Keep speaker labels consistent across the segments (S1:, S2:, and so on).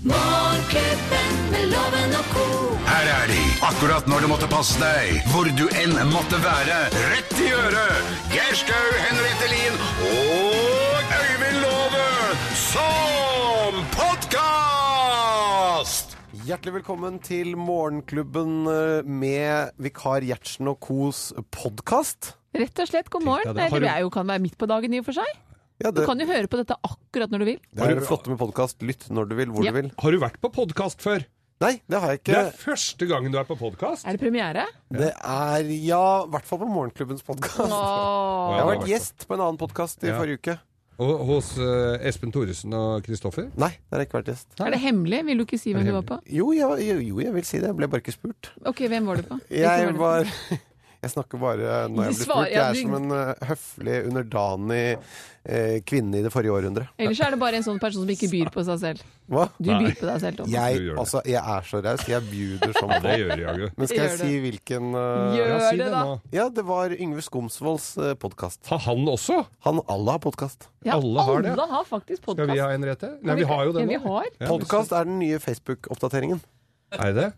S1: Morgenklubben med loven og ko.
S2: Her er de, akkurat når du måtte passe deg, hvor du enn måtte være. Rett i øret! Geir Skau, Henriette Lien og Øyvind Låve som podkast!
S3: Hjertelig velkommen til Morgenklubben eh, med vikar Gjertsen og Kos podkast.
S4: Rett og slett, god morgen.
S5: deg det. Har
S4: Eller
S5: du-
S4: det er jo kan være midt på dagen i og for seg.
S3: Ja,
S4: Du
S3: det,
S4: kan jo høre på dette akkurat når du vil.
S3: det er det flotte med podkast. Lytt når du vil, hvor
S4: Ja.
S3: du vil.
S5: Har du vært på podkast før?
S3: Nei, det har jeg
S5: Det
S3: ikke.
S5: er første gangen du er på podkast.
S4: Er det premiere?
S3: Det er ja, i hvert fall på Morgenklubbens podkast.
S4: Åh.
S3: Jeg har
S5: Ja,
S3: vært
S5: det er
S3: gjest på en annen podkast i
S5: Ja.
S3: forrige uke.
S5: Og hos eh, Espen Thoresen og Kristoffer.
S3: Nei, det har jeg ikke vært gjest.
S4: Er det hemmelig? Vil du ikke si hvem du var på?
S3: Jo, jeg, var- jo, jo, jeg vil si det. Jeg ble bare ikke spurt.
S4: Ok, hvem var du på?
S3: Jeg
S4: Hvilken du på?
S3: var Jeg snakker bare når jeg
S4: Du
S3: blir
S4: svarer,
S3: spurt. Jeg
S4: ja,
S3: er
S4: du-
S3: som en eh, høflig, underdanig eh, kvinne i det forrige århundret.
S4: Ellers er det bare en sånn person som ikke byr på seg selv.
S3: Hva?
S4: Du byr på deg selv, Tom.
S3: Jeg,
S5: Du gjør det.
S3: altså, jeg er så raus. Jeg bjuder som
S5: Det
S3: faen.
S5: gjør jeg jaggu.
S3: Men skal jeg
S4: Gjør det.
S3: si hvilken eh,
S4: Gjør
S5: Ja, si
S4: det,
S5: det
S4: da.
S5: nå.
S3: Ja, det var Yngve Skomsvolds uh, podkast.
S5: Har han også?
S3: Han Allah har podkast.
S4: Ja,
S5: alle har det.
S4: Alle har faktisk
S5: Skal vi
S4: podkast.
S5: ha en rette? Nei, vi har jo det
S4: Ja, vi
S5: nå.
S4: har.
S5: Ja,
S3: Podkast er den nye Facebook-oppdateringen.
S5: Er det?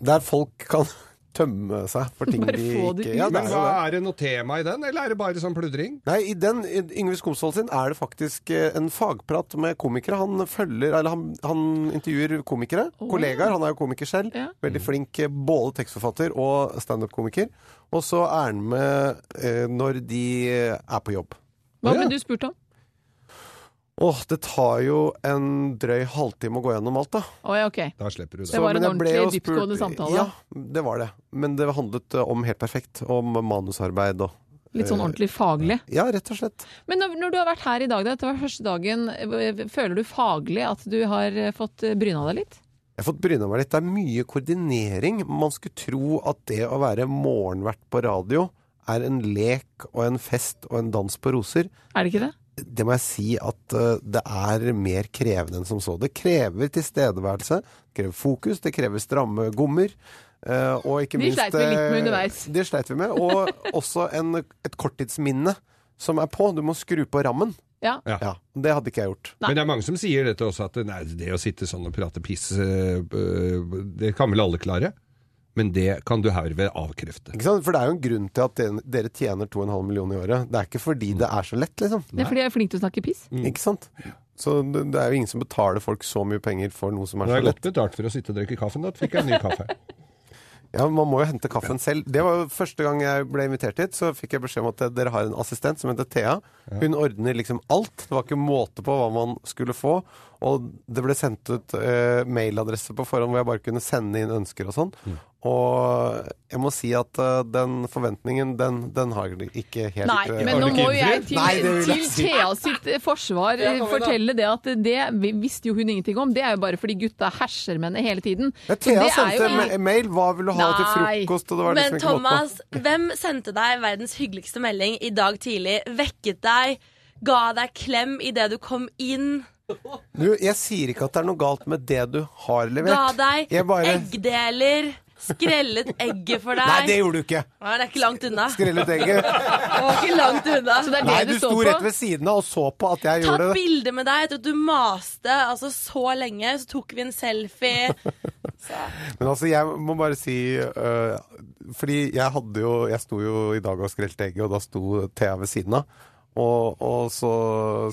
S3: Der folk kan tømme seg for ting
S4: Bare
S3: de
S4: få det
S3: ikke
S4: ut.
S3: ja, det
S5: Men
S3: er
S5: hva
S3: jo det.
S5: er det noe tema i den, eller er det bare sånn pludring?
S3: Nei, I den i Yngve Skomsvold sin er det faktisk eh, en fagprat med komikere. Han følger, eller han, han intervjuer komikere. kollegaer. Han er jo komiker selv.
S4: Ja.
S3: Veldig flink eh, både tekstforfatter og standup-komiker. Og så er han med eh, når de eh, er på jobb.
S4: Hva
S5: Ja.
S4: ble du spurt om?
S3: Åh, det tar jo en drøy halvtime å gå gjennom alt, da.
S4: Å ja, ok.
S5: Da slipper du
S4: Det
S5: det.
S4: var en
S3: men jeg ble
S4: ordentlig
S3: jo spurt-
S4: dyptgående samtale.
S3: Ja, det var det. Men det handlet eh, om helt perfekt. Om manusarbeid og
S4: Litt
S5: Eh.
S4: sånn ordentlig faglig.
S3: Ja, rett og slett.
S4: Men når, når du har vært her i dag, da, dette var første dagen, eh, føler du faglig at du har eh, fått eh, bryna deg litt?
S3: Jeg har fått bryna meg litt. Det er mye koordinering. Man skulle tro at det å være morgenvert på radio er en lek og en fest og en dans på roser.
S4: Er det ikke det?
S3: Det må jeg si at eh, det er mer krevende enn som så. Det krever tilstedeværelse, det krever fokus, det krever stramme gommer. eh, og ikke
S4: De
S3: minst
S4: sleit vi litt med
S3: eh,
S4: underveis.
S3: Det sleit vi med. Og også en, et korttidsminne som er på. Du må skru på rammen.
S4: Ja.
S5: Ja.
S3: Ja, Det hadde ikke jeg gjort.
S5: Men det er mange som sier dette også, at nei, det å sitte sånn og prate piss, eh, eh, det kan vel alle klare? Men det kan du herved avkrefte.
S3: Ikke sant? For det er jo en grunn til at den- dere tjener 2,5 millioner i året. Det er ikke
S5: Mm.
S3: fordi det er så lett, liksom.
S4: Det er fordi jeg er flink til å snakke piss.
S3: Ikke sant? Så det, det er jo ingen som betaler folk så mye penger for noe som er
S5: Nå har
S3: så
S5: jeg
S3: lett.
S5: godt betalt for å sitte og drikke kaffen, da fikk jeg en ny kaffe.
S3: Ja, Man må jo hente kaffen selv. Det var jo Første gang jeg ble invitert hit, så fikk jeg beskjed om at dere har en assistent som heter Thea. Hun ordner liksom alt. Det var ikke måte på hva man skulle få. Og det ble sendt ut eh, mailadresse på forhånd hvor jeg bare kunne sende inn ønsker og sånn. Og jeg må si at eh, den forventningen, den, den har jeg ikke helt
S4: Nei,
S3: eh,
S4: men nå
S5: ikke
S4: må jo jeg
S5: innfridd?
S4: til,
S3: Nei, det vil jeg
S4: til
S3: si.
S4: Thea sitt eh, forsvar eh, fortelle det at det vi- visste jo hun ingenting om. Det er jo bare fordi gutta herser med henne hele tiden.
S3: Ja,
S4: Så
S3: Thea
S4: det er jo
S3: sendte ma- mail. Hva vil du ha til
S4: Nei.
S3: frokost? Og det var liksom
S6: Men
S3: ikke måte på.
S6: Thomas, hvem sendte deg verdens hyggeligste melding i dag tidlig? Vekket deg? Ga deg klem idet du kom inn?
S3: Du, jeg sier ikke at det er noe galt med det du har levert.
S6: Ga deg
S3: Jeg bare-
S6: eggdeler? Skrellet egget for deg?
S3: Nei, det gjorde du ikke!
S6: Nei, det er ikke langt unna. Det
S3: Skrellet egget.
S6: var ikke langt unna.
S4: Så det er det
S3: Nei,
S4: det
S3: du sto
S4: står
S3: rett
S4: på.
S3: ved siden av og så på at jeg
S6: Tatt
S3: gjorde det.
S6: bilde med deg etter at du maste altså, så lenge. Så tok vi en selfie.
S3: Men altså, jeg må bare si øh, Fordi jeg hadde jo Jeg sto jo i dag og skrelte egget, og da sto Thea ved siden av. Og, og så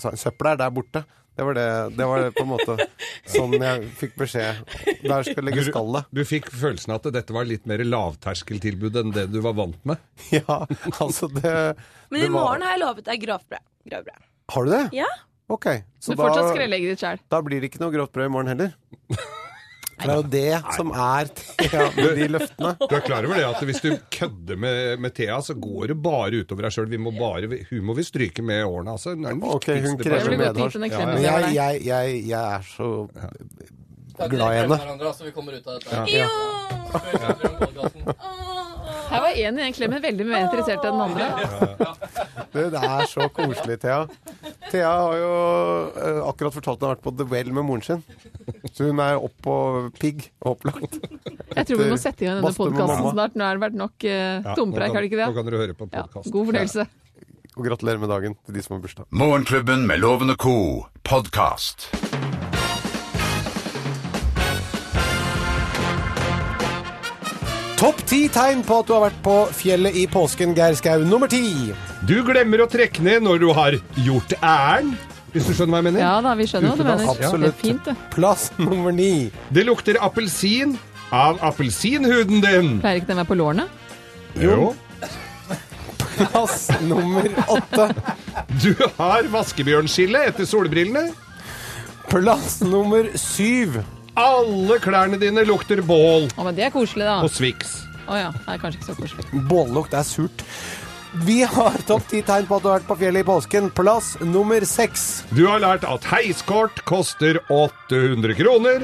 S3: sa hun 'søpla er der borte'. Det var det, det var det på en måte sånn jeg fikk beskjed. Der skal legge skallet.
S5: Du fikk følelsen av at dette var litt mer lavterskeltilbud enn det du var vant med.
S3: Ja, altså det
S6: Men
S3: det
S6: i
S3: var-
S6: morgen har jeg lovet deg grovt brød. Grovt brød.
S3: Har du det?
S6: Ja.
S3: Ok.
S4: Du
S3: Så
S4: får fortsatt
S3: da,
S4: skrellegge ditt sjæl.
S3: da blir det ikke noe grovt brød i morgen heller. For det er jo det som er Thea med de løftene.
S5: Du er klar over det at hvis du kødder med, med Thea, så går det bare utover deg sjøl. Hun må vi stryke med årene, altså. Hun er den
S3: Ok, hun
S5: viktigste
S3: krever
S4: Jeg ville
S5: personen.
S3: mer.
S4: gått gitt en eksempel.
S5: Ja, ja, ja.
S3: Men jeg,
S4: der.
S3: jeg, jeg, jeg er så glad
S7: Takk,
S3: i
S7: dere
S3: henne.
S7: klemmer hverandre, så vi kommer ut av dette. her.
S6: Jo!
S7: Før vi slutter om podcasten.
S4: Her var én i den klemmen veldig mer interessert enn den andre.
S3: Du, det er så koselig, Thea. Thea har jo eh, akkurat fortalt at hun har vært på The Well med moren sin. Så hun er opp på pigg, opplagt.
S4: Jeg tror vi må sette igjen denne
S3: Baste med mamma.
S4: podkasten snart. Nå har det vært nok eh,
S5: Ja, nå
S4: tompreik,
S5: kan-
S4: har det
S5: Nå
S4: ikke det?
S5: kan dere høre på
S4: Ja,
S5: podkast.
S4: god fornøyelse.
S3: Og gratulerer med dagen til de som har bursdag.
S2: Morgenklubben med Loven og co. podkast.
S3: Topp ti tegn på at du har vært på fjellet i påsken, Geir Skau. Nummer ti.
S5: Du glemmer å trekke ned når du har gjort ærend, hvis du skjønner hva jeg mener.
S4: Ja da, vi skjønner hva du mener. Det er fint, det.
S3: Plass nummer ni.
S5: Det lukter appelsin av appelsinhuden din.
S4: Pleier ikke den å være på lårene?
S5: Jo.
S3: Plass nummer åtte.
S5: Du har vaskebjørnskille etter solbrillene.
S3: Plass nummer syv.
S5: Alle klærne dine lukter bål
S4: Å, men det er koselig, da.
S5: og Swix.
S4: Å ja. Det er kanskje ikke så koselig.
S3: Bållukt er surt. Vi har topp ti tegn på at du har vært på fjellet i påsken. Plass nummer seks.
S5: Du har lært at heiskort koster 800 kroner.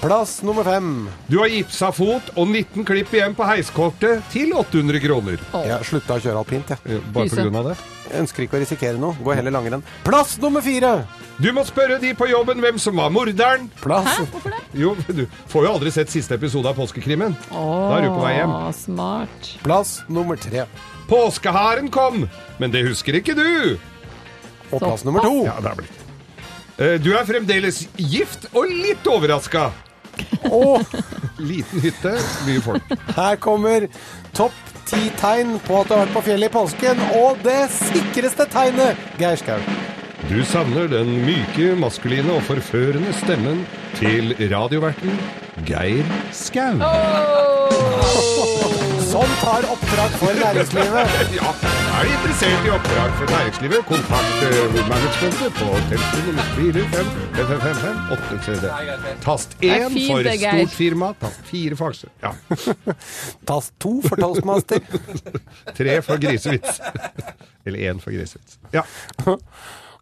S3: Plass nummer fem.
S5: Du har gipsa fot og 19 klipp igjen på heiskortet til 800 kroner.
S3: Jeg slutta å kjøre alpint, jeg.
S5: Eh, Bare
S4: Pyse.
S5: på grunn av det.
S3: jeg. Ønsker ikke å risikere noe. Går heller langrenn. Plass nummer fire.
S5: Du må spørre de på jobben hvem som var morderen.
S3: Plass
S4: Hæ, hvorfor det?
S5: Jo, du får jo aldri sett siste episode av Påskekrimmen. Da er du på vei hjem.
S4: Å, Smart.
S3: Plass nummer tre.
S5: Påskeharen kom, men det husker ikke du.
S3: Og plass nummer to.
S5: Ja, det er blitt. Eh, Du er fremdeles gift og litt overraska.
S3: Og
S5: Liten hytte, mye folk.
S3: her kommer topp ti tegn på at du har vært på fjellet i påsken. Og det sikreste tegnet, Geir Skau.
S5: Du savner den myke, maskuline og forførende stemmen til radioverten Geir Skau.
S3: Som tar oppdrag for næringslivet.
S5: Ja, er du interessert i oppdrag for næringslivet, kontakt eh, managementet på telefon 45555833. Tast
S4: er
S5: 1
S4: fint,
S5: for
S4: det, Geir.
S5: stort firma, tast 4 for aksjer. Ja,
S3: Tast to for toastmaster.
S5: 3 for grisevits. Eller 1 for grisevits. Ja.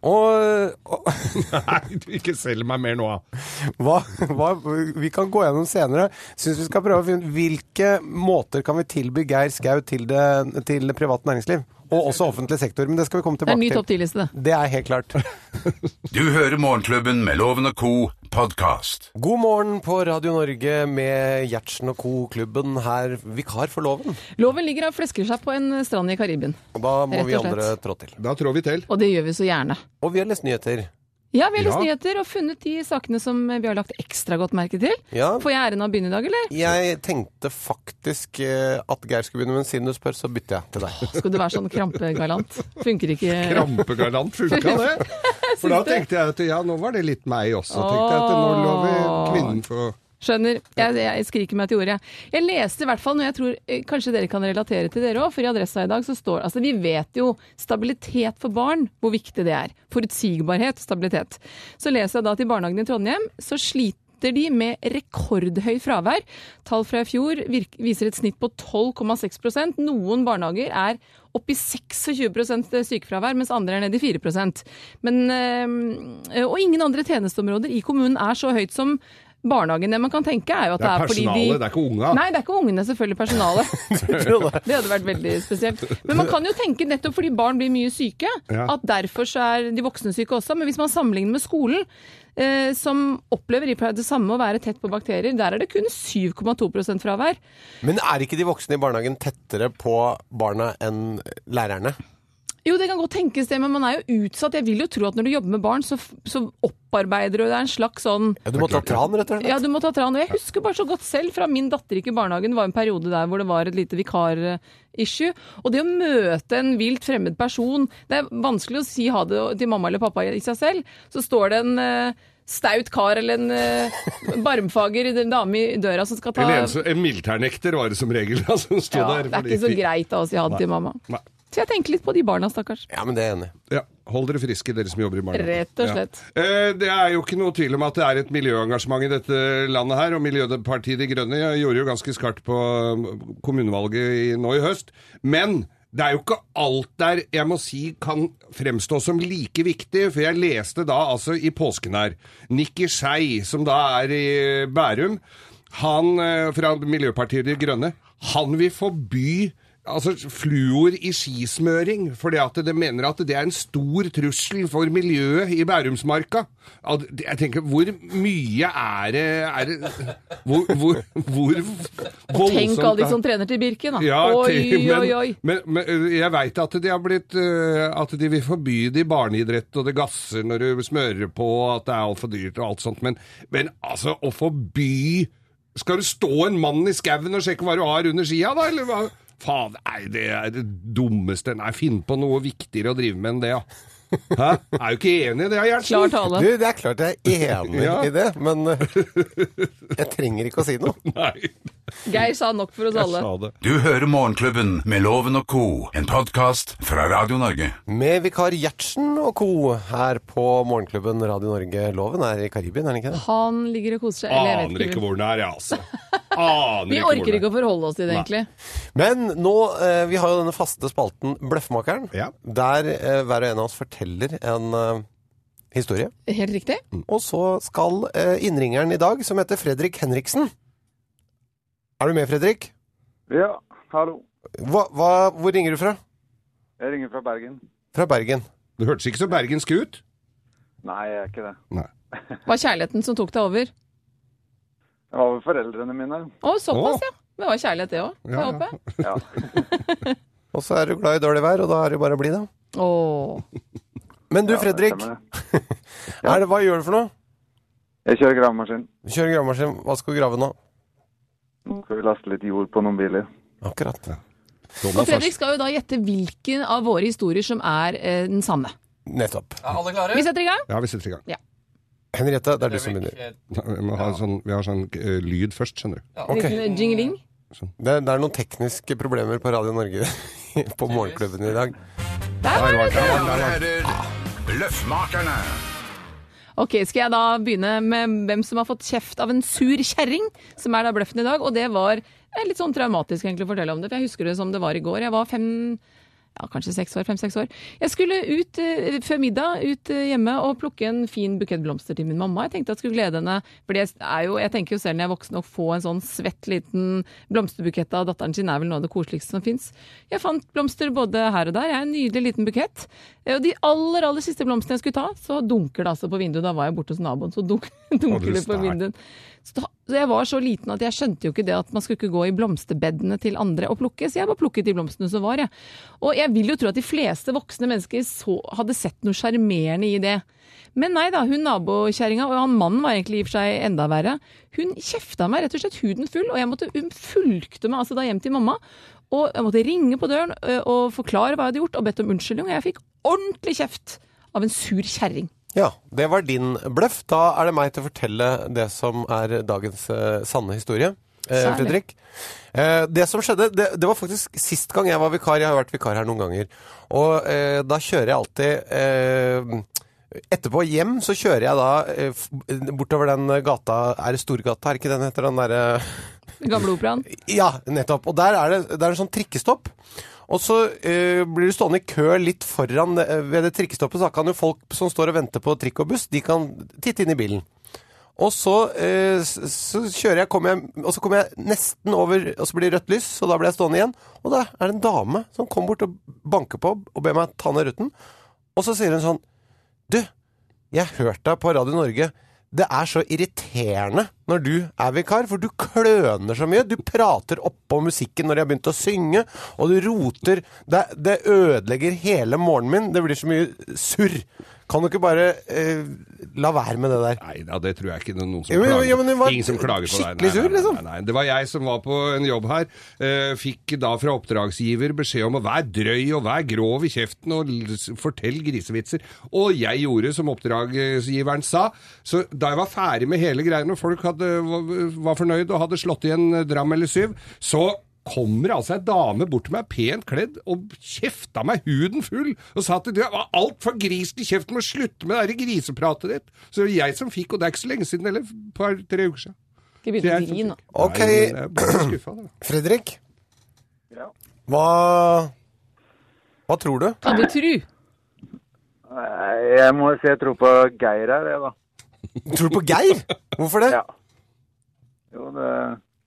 S3: Og, og
S5: Nei, du ikke selg meg mer nå. da.
S3: hva, hva, vi kan gå gjennom senere. Syns vi skal prøve å finne ut hvilke måter kan vi tilby Geir Skau til, det- til privat næringsliv? Og også offentlig sektor. Men det skal vi komme
S4: Det er en ny
S3: tilbake
S4: topp
S3: til.
S4: ti-liste, det.
S3: Det er helt klart.
S2: Du hører Morgenklubben med Loven og Co. podkast.
S3: God morgen på Radio Norge med Gjertsen og co.-klubben her, vikar for loven.
S4: Loven ligger og flesker seg på en strand i Karibien.
S3: Og da må
S4: Rett og
S3: vi andre
S4: slett.
S3: trå til.
S5: Da trår vi til.
S4: Og det gjør vi så gjerne.
S3: Og vi har lest nyheter.
S4: Ja, vi har lest
S5: Ja.
S4: nyheter og funnet de sakene som vi har lagt ekstra godt merke til.
S3: Ja.
S4: Får jeg æren av å begynne i dag, eller?
S3: Jeg tenkte faktisk eh, at Geir skulle begynne, men siden du spør, så bytter jeg til deg.
S4: Skal du være sånn krampegalant? Funker ikke
S5: Rampegalant funka det. For da tenkte jeg at ja, nå var det litt meg også. Tenkte jeg at nå lå vi kvinnen for
S4: Skjønner. Jeg, jeg skriker meg til ordet. jeg. Jeg leste i hvert fall noe jeg tror eh, kanskje dere kan relatere til dere òg, for i Adressa i dag så står Altså, vi vet jo stabilitet for barn, hvor viktig det er. Forutsigbarhet, stabilitet. Så leser jeg da at i barnehagen i Trondheim så sliter de med rekordhøy fravær. Tall fra i fjor virk- viser et snitt på 12,6 Noen barnehager er opp i 26 sykefravær, mens andre er nede i 4 Men, eh, Og ingen andre tjenesteområder i kommunen er så høyt som barnehagen. Det man kan tenke er jo at
S5: Det
S4: det
S5: er
S4: er, fordi de
S5: personalet, det er ikke unga.
S4: Nei, det er ikke ungene, selvfølgelig personalet. det hadde vært veldig spesielt. Men man kan jo tenke, nettopp fordi barn blir mye syke,
S5: Ja.
S4: at derfor så er de voksne syke også. Men hvis man sammenligner med skolen, eh, som opplever i det samme å være tett på bakterier, der er det kun 7,2 fravær.
S3: Men er ikke de voksne i barnehagen tettere på barna enn lærerne?
S4: Jo, det kan godt tenkes det, men man er jo utsatt. Jeg vil jo tro at når du jobber med barn, så, f- så opparbeider du deg en slags sånn
S3: Ja, du må ta tran, rett og slett.
S4: Ja, du må ta tran. Og jeg husker bare så godt selv fra min datter gikk i barnehagen. Det var en periode der hvor det var et lite vikarissue. Og det å møte en vilt fremmed person Det er vanskelig å si ha det til mamma eller pappa i seg selv. Så står det en eh, staut kar eller en eh, barmfager dame i døra som skal ta
S5: Eller en, som- en militærnekter var det som regel da, som sto
S4: ja,
S5: der.
S4: Det er
S5: fordi-
S4: ikke så greit da å si ha det til mamma.
S5: Nei.
S4: Så jeg tenker litt på de barna, stakkars.
S3: Ja, men det er jeg enig. i.
S5: Ja, Hold dere friske, dere som jobber i barnehagen.
S4: Rett og slett.
S5: Ja. Eh, Det er jo ikke noe tvil om at det er et miljøengasjement i dette landet her, og Miljøpartiet De Grønne gjorde jo ganske skarpt på um, kommunevalget i, nå i høst. Men det er jo ikke alt der jeg må si kan fremstå som like viktig, for jeg leste da altså i påsken her Nikki Skei, som da er i Bærum, han eh, fra Miljøpartiet De Grønne, han vil forby Altså fluor i skismøring, fordi at det mener at det er en stor trussel for miljøet i Bærumsmarka. At- Jeg tenker, hvor mye er det, er det Hvor, hvor, hvor
S4: Tenk alle de
S5: voldsomt
S4: som trener til Birken, da.
S5: ja,
S4: oi,
S5: til- men,
S4: oi, oi.
S5: Men, men øh, jeg veit at de har blitt øh, At de vil forby det i barneidrett, og det gasser når du smører på, at det er altfor dyrt og alt sånt, men, men altså, å forby Skal du stå en mann i skauen og sjekke hva du har under skia, da? Eller hva? Faen, nei, det er det dummeste Nei, finn på noe viktigere å drive med enn det, ja. Hæ? Er jo ikke enig i det,
S4: Klar
S5: Gjertsen?
S4: tale.
S3: Du, det er klart jeg er enig
S5: Ja.
S3: i det, men eh, jeg trenger ikke å si noe.
S5: Nei,
S4: Geir sa nok for oss
S5: jeg
S4: alle.
S5: sa det.
S2: Du hører Morgenklubben med Loven og Co., en podkast fra Radio Norge.
S3: Med vikar Gjertsen og co. her på Morgenklubben Radio Norge. Loven er i Karibien, er den ikke det?
S4: Han ligger og koser seg. Eller jeg
S5: Aner
S4: vet
S5: ikke
S4: ikke.
S5: hvor den er, jeg, altså. Aner
S4: Vi
S5: ikke hvor
S4: orker
S5: den er.
S4: ikke å forholde oss til det, egentlig.
S3: Men nå, eh, vi har jo denne faste spalten Bløffmakeren,
S5: Ja.
S3: der eh, hver og en av oss forteller en eh, historie.
S4: Helt riktig.
S3: Og så skal eh, innringeren i dag, som heter Fredrik Henriksen Er du med, Fredrik?
S8: Ja, hallo.
S3: Hva, hva, hvor ringer du fra?
S8: Jeg ringer fra Bergen.
S3: Fra Bergen.
S5: Det hørtes ikke så bergensk ut.
S8: Nei, jeg er ikke det.
S5: Nei.
S4: Var kjærligheten som tok deg over?
S8: Det var vel foreldrene mine.
S4: Å, såpass,
S5: Å.
S4: ja. Det var kjærlighet, det òg.
S5: Ja,
S4: Ja,
S5: ja.
S4: ja.
S8: Ja.
S3: Og så er du glad i dårlig vær, og da er det jo bare å bli, da. Men du,
S8: Ja, det
S3: Fredrik,
S8: stemmer det.
S3: er det, hva gjør du for noe?
S8: Jeg kjører gravemaskin.
S3: Kjører gravemaskin. Hva skal du grave nå?
S8: Nå skal vi laste litt jord på noen biler.
S3: Akkurat.
S4: Og Fredrik skal jo da gjette hvilken av våre historier som er eh, den samme.
S3: Nettopp.
S7: Er alle klare?
S4: Vi setter i gang.
S5: Ja, vi setter i gang.
S3: Henriette, det er du som begynner.
S7: Fredrik,
S5: Ja, Vi, må ha sånn, vi har sånn eh, lyd først, skjønner du.
S3: Ok.
S4: Liten jingling.
S3: Det, det er noen tekniske problemer på Radio Norge på morgenklubben i dag.
S4: Der var det!
S2: Mine herrer, Løffmakerne.
S4: Ok, skal jeg da begynne med hvem som har fått kjeft av en sur kjerring, som er da bløffen i dag. Og det var eh, litt sånn traumatisk egentlig å fortelle om det, for jeg husker det som det var i går. Jeg var fem, ja kanskje seks år, fem-seks år. Jeg skulle ut eh, før middag, ut eh, hjemme og plukke en fin bukett blomster til min mamma. Jeg tenkte jeg skulle glede henne, for det er jo, jeg tenker jo selv når jeg er voksen å få en sånn svett liten blomsterbukett av datteren sin er vel noe av det koseligste som fins. Jeg fant blomster både her og der, jeg har en nydelig liten bukett. Eh, Og de aller, aller siste blomstene jeg skulle ta, så dunker det altså på vinduet. Da var jeg borte hos naboen, så dunk,
S5: du
S4: dunker det på
S5: stakkar.
S4: vinduet. Så, da, så jeg var så liten at jeg skjønte jo ikke det at man skulle ikke gå i blomsterbedene til andre og plukke, så jeg bare plukket de blomstene som var, jeg. Og jeg vil jo tro at de fleste voksne mennesker så, hadde sett noe sjarmerende i det. Men nei da, hun nabokjerringa, og han mannen var egentlig i og for seg enda verre, hun kjefta meg rett og slett huden full, og jeg måtte, hun fulgte meg altså da hjem til mamma. Og jeg måtte ringe på døren ø, og forklare hva jeg hadde gjort, og bedt om unnskyldning. Og jeg fikk ordentlig kjeft av en sur kjerring.
S3: Ja, det var din bløff. Da er det meg til å fortelle det som er dagens eh, sanne historie. Eh,
S4: Særlig.
S3: Fredrik. Eh, det som skjedde, det, det var faktisk sist gang jeg var vikar. Jeg har vært vikar her noen ganger. Og eh, da kjører jeg alltid eh, Etterpå hjem så kjører jeg da eh, f- bortover den gata Er det Storgata, er ikke den heter den derre
S4: Den gamle operaen.
S3: Ja, nettopp. Og der er det, det er en sånn trikkestopp. Og så eh, blir du stående i kø litt foran eh, ved det trikkestoppet, så da kan jo folk som står og venter på trikk og buss, de kan titte inn i bilen. Og så, eh, s- så kjører jeg, kommer jeg, og så kommer jeg nesten over, og så blir det rødt lys, og da blir jeg stående igjen. Og da er det en dame som kommer bort og banker på og ber meg ta ned ruten. Og så sier hun sånn Du, jeg har hørt deg på Radio Norge. Det er så irriterende når du er vikar, for du kløner så mye. Du prater oppå musikken når de har begynt å synge, og du roter. Det, det ødelegger hele morgenen min. Det blir så mye surr. Kan du ikke bare eh, la være med det der?
S5: Nei da, det tror jeg ikke det er noen som
S3: Jo, men-
S5: klager
S3: jo, men det var
S5: Ingen som klager på deg.
S3: skikkelig sur, liksom.
S5: Nei, nei, det var jeg som var på en jobb her. eh, fikk da fra oppdragsgiver beskjed om å være drøy og være grov i kjeften og l- fortell grisevitser. Og jeg gjorde som oppdragsgiveren sa. Så da jeg var ferdig med hele greia, når folk hadde, var- var fornøyd og hadde slått igjen eh, dram eller syv, så kommer altså ei dame bort til meg, pent kledd, og kjefta meg huden full og sa at du var altfor grisen i kjeften, må slutte med det der grisepratet ditt. Så det var jeg som fikk, og det er ikke så lenge siden, eller et par-tre uker siden.
S4: Skal jeg begynne å grine nå?
S3: Ok.
S5: Nei, men eh, jeg ble skuffa, da.
S3: Fredrik,
S8: Ja.
S3: hva, hva tror du?
S4: Kan du tru?
S8: Nei, Jeg må si jeg tror på Geir her, jeg, da.
S3: Tror du på Geir? Hvorfor det?
S8: Ja. Jo, det,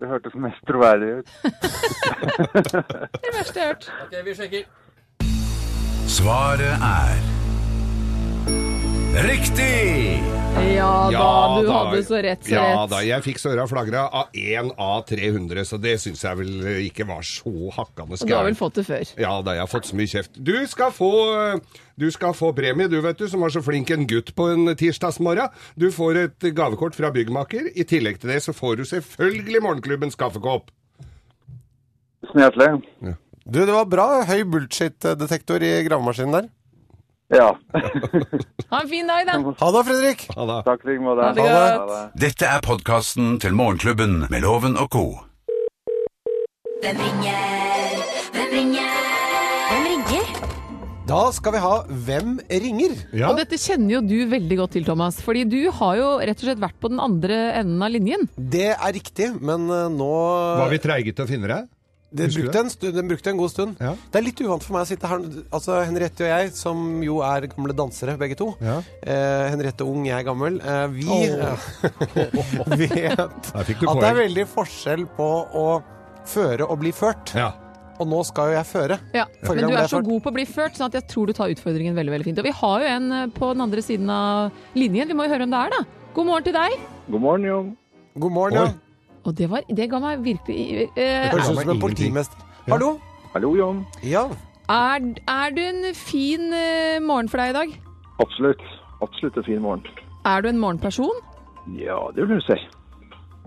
S8: det hørtes mest troverdig ut.
S4: Det verste jeg har hørt.
S7: Ok, vi sjekker.
S2: Svaret er Riktig!
S4: Ja da,
S5: Ja
S4: du
S5: da.
S4: hadde så rett, så
S5: Ja
S4: rett.
S5: da, jeg fikk søra flagra av én av 300, så det syns jeg vel ikke var så hakkande
S4: Og du har vel
S5: skærent.
S4: fått det før.
S5: Ja da, jeg har fått så mye kjeft. Du skal få, du skal få premie, du vet du, som var så flink en gutt på en tirsdagsmorgen. Du får et gavekort fra byggmaker. I tillegg til det så får du selvfølgelig morgenklubbens kaffekopp.
S8: Tusen hjertelig.
S3: Du, det var bra høy bullshit-detektor i gravemaskinen der.
S8: Ja.
S4: Ha en fin dag, da.
S3: Ha det, Fredrik!
S5: Ja da.
S8: Takk i like måte.
S4: Ha det godt.
S2: Dette er podkasten til Morgenklubben med Loven og co.
S1: Hvem ringer? Hvem ringer? Hvem ringer?
S3: Da skal vi ha Hvem ringer?
S5: Ja.
S4: Og dette kjenner jo du veldig godt til, Thomas. Fordi du har jo rett og slett vært på den andre enden av linjen.
S3: Det er riktig, men eh, nå
S5: Var vi treige til å finne deg?
S3: det
S5: husker du
S3: brukte
S5: det?
S3: en stund, Den brukte en god stund.
S5: Ja.
S3: Det er litt uvant for meg å sitte her. Altså, Henriette og jeg, som jo er gamle dansere begge to
S5: Ja.
S3: eh, Henriette Ung, jeg er gammel. Eh, vi vet
S5: Der fikk du
S3: at det er
S5: poeng.
S3: veldig forskjell på å føre og bli ført.
S5: Ja.
S3: Og nå skal jo jeg føre.
S4: Ja,
S3: Forrige gang
S4: Men du
S3: ble
S4: er
S3: jeg
S4: så
S3: ført.
S4: god på å bli ført, sånn at jeg tror du tar utfordringen veldig veldig fint. Og vi har jo en eh, på den andre siden av linjen. Vi må jo høre om det er, da. God morgen til deg.
S8: God morgen, jo.
S3: God morgen,
S5: Oi.
S3: ja.
S4: Og det, var, det ga meg virkelig eh,
S3: Høres
S5: Ja,
S3: ut
S5: men
S3: som en
S5: ingenting.
S3: politimester. Hallo?
S8: Hallo, Jon.
S3: Ja.
S4: er, er du en fin eh, morgen for deg i dag?
S8: Absolutt. Absolutt en fin morgen.
S4: Er du en morgenperson?
S8: Ja, det vil du si.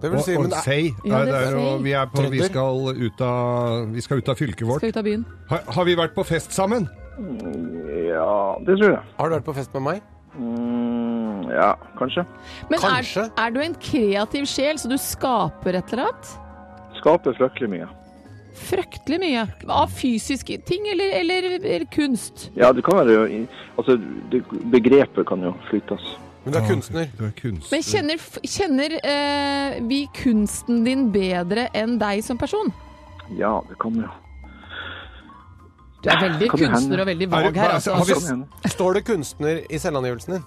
S3: Det vil
S5: Og,
S3: si, men
S5: og
S3: det er,
S5: sei.
S4: Ja,
S5: Nei,
S4: det
S5: det er jo,
S4: sei.
S5: vi, er på, vi,
S3: Trønder.
S5: skal ut av, vi skal ut av fylket vårt.
S4: Skal ut av byen.
S5: Har, har vi vært på fest sammen?
S3: Ah,
S8: Ja, det tror jeg.
S3: har du vært på fest med meg?
S8: Mm, ja, kanskje.
S4: Men er,
S3: Kanskje.
S4: er du en kreativ sjel, så du skaper et eller annet?
S8: Skaper fryktelig mye.
S4: Fryktelig mye. Av fysiske ting eller, eller, eller kunst?
S8: Ja, det kan være jo i- Altså, det, begrepet kan jo flyttes.
S3: Men du er kunstner.
S5: Du er kunstner.
S4: Men kjenner, f- kjenner eh, vi kunsten din bedre enn deg som person?
S8: Ja, det kan jo.
S4: Du er veldig
S8: Kan det
S4: kunstner
S8: hende?
S4: og veldig
S5: Er
S4: vag
S5: det-
S4: her,
S5: hva-
S4: altså.
S5: har vi-
S8: Kan hende.
S3: Står det kunstner i selvangivelsen din?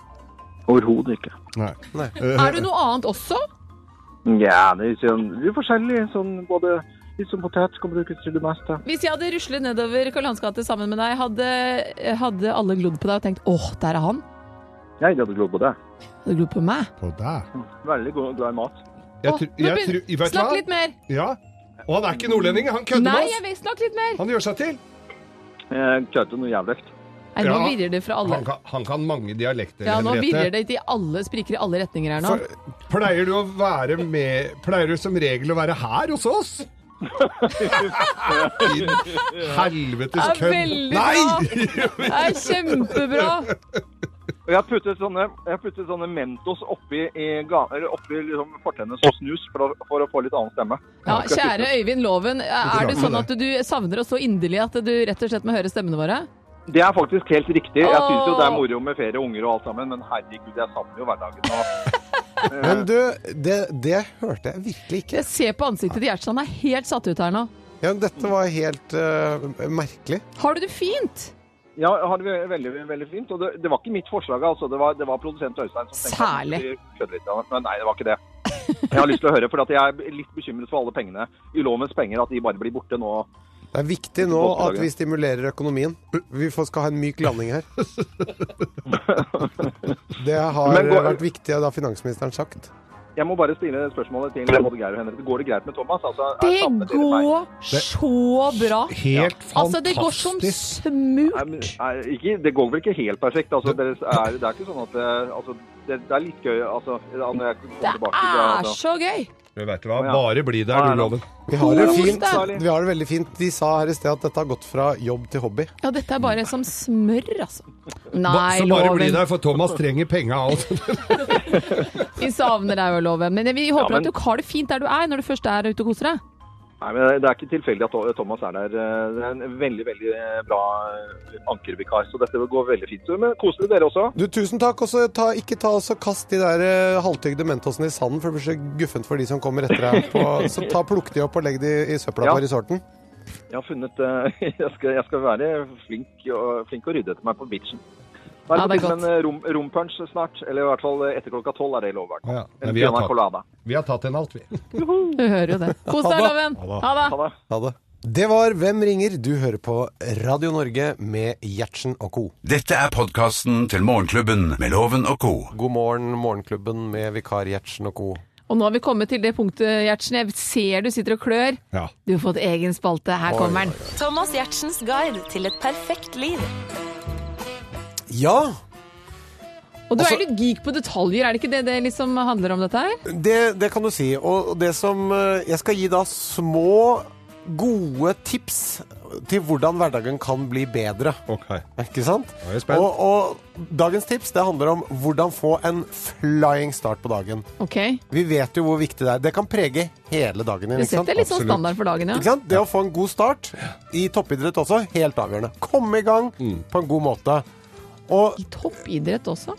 S8: Overhodet ikke.
S4: Altså-
S5: Nei.
S3: Nei.
S5: altså-
S4: Er du noe annet også?
S8: Ja, det er, sånn, det er forskjellig. Sånn, både litt som potet kan brukes til det meste.
S4: Hvis jeg hadde ruslet nedover Karl Johans gate sammen med deg, hadde, hadde alle glodd på deg og tenkt 'åh, der er han'?
S8: Jeg hadde glodd på det.
S4: Hadde glodd på meg?
S5: På deg.
S8: Veldig god- glad i mat.
S5: Jeg
S4: Åh,
S5: tr-
S4: nå
S5: jeg
S4: begynner-
S5: tr- vet du
S4: Snakk
S5: hva?
S4: litt mer!
S5: Ja. Og han er ikke nordlending, han kødder
S4: Nei,
S5: med
S4: jeg
S5: oss.
S4: vil snakke litt mer!
S5: Han gjør seg til.
S8: Jeg kjørte noe jævlig.
S4: Nei, nå
S5: Ja.
S4: virrer det fra alle.
S5: Han kan, han kan mange dialekter.
S4: Ja, nå
S5: Henriette.
S4: virrer det i alle spriker i alle retninger her nå.
S5: For, pleier du å være med Pleier du som regel å være her hos oss? Din helvetes
S4: Det er
S5: kødd.
S4: veldig
S5: Nei!
S4: Det er kjempebra!
S8: Og jeg putter sånne, jeg putter sånne Mentos oppi, i, ga- eller oppi liksom fortennet som snus for å, for å få litt annen stemme.
S4: Ja, kjære Øyvind Loven, er det
S5: rart med
S4: sånn at du savner oss så inderlig at du rett og slett må høre stemmene våre?
S8: Det er faktisk helt riktig. Jeg syns jo det er
S4: Åh.
S8: moro med ferie og unger og alt sammen, men herregud, jeg savner jo hverdagen. Og,
S3: Men du, det, det hørte jeg virkelig ikke.
S4: Jeg ser på ansiktet til Gjertsen, han er helt satt ut her nå.
S3: Ja, men dette var helt eh, merkelig.
S4: Har du det fint?
S8: ja, jeg har det ve- veldig, veldig, veldig fint. Og det, det var ikke mitt forslag, altså. Det var, det var produsent Øystein som tenkte at
S4: Særlig.
S8: vi kødder litt. ja. Men nei, det var ikke det. Jeg har lyst til å høre, for at jeg er litt bekymret for alle pengene. Ulovens penger, at de bare blir borte nå.
S3: Det er viktig nå at vi stimulerer økonomien. Vi får, skal ha en myk landing her. Det har
S8: Men går-
S3: vært viktig, det har finansministeren sagt.
S8: Jeg må bare stille spørsmålet til både Geir og Henrik. Går det greit med Thomas? Altså, er
S4: Det
S8: samfunnet til meg?
S4: går så bra.
S5: Helt
S4: Altså, det går som
S5: fantastisk.
S8: Nei, men,
S4: smurt.
S8: nei, ikke, det går vel ikke helt perfekt. Altså, det, er, det er ikke sånn at det, altså, det, det er litt gøy altså, når jeg kommer
S4: Det
S8: tilbake til det.
S4: er
S8: Altså.
S4: så gøy!
S5: Du vet hva,
S8: Ja.
S5: bare bli der,
S8: Ja,
S5: du,
S8: ja.
S5: Loven.
S3: Vi har det,
S4: Kos
S3: fint.
S8: deg.
S3: vi har det veldig fint. De sa her i sted at dette har gått fra jobb til hobby.
S4: Ja, dette er bare som smør, altså.
S5: Ba,
S4: Nei,
S5: så bare bli
S4: Loven.
S5: der, for Thomas trenger penga altså.
S4: Vi savner deg jo, Loven. Men vi håper
S8: men-
S4: at du har det fint der du er, når du først er ute og koser deg.
S8: Nei, men det er ikke tilfeldig at Thomas er der. Eh, Det er en veldig veldig eh, bra ankervikar, så dette går veldig fint. Så, Men koselig dere også.
S3: Du, tusen takk. Og så ta, ikke ta og så kast de der eh, halvtygde mentosene i sanden, for det blir så guffent for de som kommer etter deg. På, så ta, plukk de opp og legg de i søpla
S8: Ja.
S3: på resorten.
S8: Jeg har funnet eh, Jeg skal, jeg skal være flink og, flink og rydde etter meg på beachen. Nå
S4: Ja,
S8: er det
S4: det er
S8: på tide
S4: godt.
S8: med en eh, rom- rompunch snart, eller i hvert fall eh, etter klokka tolv er det lov. i hvert fall.
S5: Ja, ja. Men
S8: En
S5: vi har
S8: Piana
S5: tatt-
S8: Colada.
S5: Vi har tatt en alt, vi.
S4: Du hører jo det. Kos deg, Loven. Ha det.
S8: Ha det.
S3: Ha det. Det var Hvem ringer? Du hører på Radio Norge med Gjertsen og co.
S2: Dette er podkasten til Morgenklubben med Loven og co.
S3: God morgen, Morgenklubben med vikar Gjertsen og co.
S4: Og nå har vi kommet til det punktet, Gjertsen. Jeg ser du sitter og klør.
S5: Ja.
S4: Du har fått egen spalte. Her kommer den.
S1: Thomas Gjertsens guide til et perfekt liv.
S3: Ja,
S4: Og du
S3: Også-
S4: er litt geek på detaljer, er det ikke det det liksom handler om dette her?
S3: det, det kan du si. Og det som eh, Jeg skal gi da små, gode tips til hvordan hverdagen kan bli bedre.
S5: Ok.
S3: Ikke sant?
S5: Da er jeg spent.
S3: Og, og dagens tips det handler om hvordan få en flying start på dagen.
S4: Ok.
S3: Vi vet jo hvor viktig det er. Det kan prege hele dagen din.
S4: Det
S3: ikke sant?
S4: setter litt sånn
S5: Absolutt.
S4: standard for dagen,
S3: Ikke
S4: ja.
S3: sant? Det å få en god start i toppidrett også, helt avgjørende. Komme i gang på en god måte. Og
S4: I toppidrett også?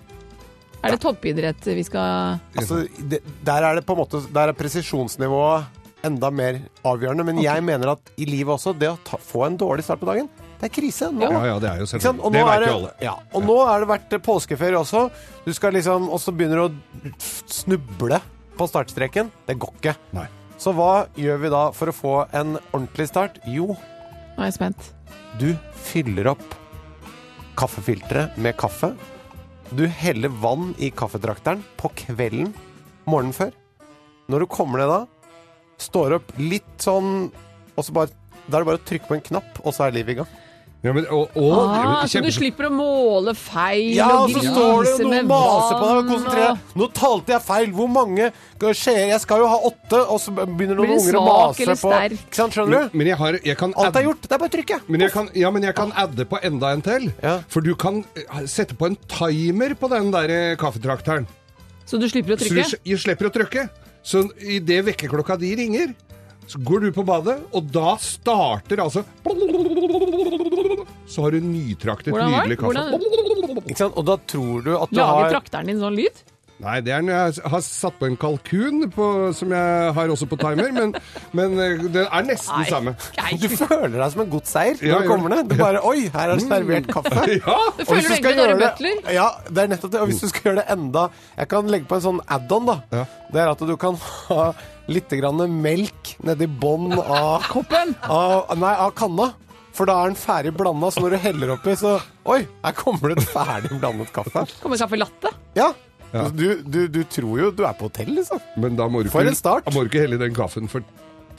S4: Er det toppidrett vi skal
S3: altså, det, der er det på en måte Der er presisjonsnivået enda mer avgjørende. Men jeg mener at i livet også, det å ta, få en dårlig start på dagen, det er krise. Nå,
S5: Ja, ja, det er jo
S3: Ikke sant?
S5: selvfølgelig.
S3: Og
S5: Det
S3: nå er
S5: vet
S3: det,
S5: jo alle.
S3: ja, og nå er det vært påskeferie også. Du skal liksom Og så begynner du å snuble på startstreken. Det går ikke.
S5: Nei.
S3: Så hva gjør vi da for å få en ordentlig start? Jo,
S4: Nå er jeg spent.
S3: du fyller opp kaffefilteret med kaffe. Du heller vann i kaffetrakteren på kvelden morgenen før. Når du kommer ned da, står opp litt sånn og så bare, Da er det bare å trykke på en knapp, og så er livet i gang.
S5: Ja, men, og, og,
S4: Ah, så du
S5: kjempe-
S4: slipper å måle feil
S3: Ja, og
S4: og
S3: så står det
S4: grise
S3: jo noen
S4: med
S3: maser på deg og
S4: vann
S3: konsentrerer
S4: og-
S3: deg. Nå talte jeg feil! Hvor mange skjeer? Jeg skal jo ha åtte! Og så begynner noen
S4: Blir det
S3: unger å
S4: svak
S3: mase
S4: eller
S3: på
S4: sterk?
S3: Ikke sant, skjønner
S5: Men,
S3: du?
S5: men jeg har jeg kan
S3: Alt
S5: adde-
S3: er gjort! Det er bare å trykke!
S5: Men jeg kan, ja, men jeg kan adde på enda en til.
S3: Ja.
S5: For du kan eh, sette på en timer på den der eh, kaffetrakteren.
S4: Så du slipper å
S5: Så
S4: trykke?
S5: du, s- du slipper å trykke. Så idet vekkerklokka di ringer, så går du på badet, og da starter altså Så har du nytraktet,
S4: Hvordan var
S5: nydelig
S4: det?
S5: kaffe.
S3: Ikke sant? Og da tror du at du
S4: Lager
S3: har
S4: trakteren din sånn lyd?
S5: Nei, det er når jeg har satt på en kalkun, på, som jeg har også på timer, men, men eh, det er nesten
S4: Nei.
S5: samme.
S4: Nei.
S3: Du føler deg som en godseier når du
S5: Ja, gjør
S3: kommer ned. Du bare Oi, her er det servert kaffe.
S5: Ja!
S4: Mm. Du
S3: Og hvis
S4: føler
S3: du skal
S4: egentlig at du er
S3: gjøre
S4: en butler?
S3: det, ja, det er nettopp det. Og hvis du skal gjøre det enda Jeg kan legge på en sånn add-on, da.
S5: Ja.
S3: Det er at du kan ha litt grann melk nedi bånn av,
S4: Koppen!
S3: av Nei, av kanna. For da er den ferdig blanda, så når du heller oppi, så Oi, her kommer det et ferdig blandet kaffe.
S4: Kommer kaffe latte?
S3: Ja. Du, du, du tror jo du er på hotell, liksom.
S5: Men da må du
S3: For
S5: ikke-
S3: en start.
S5: Da må du ikke helle den kaffen for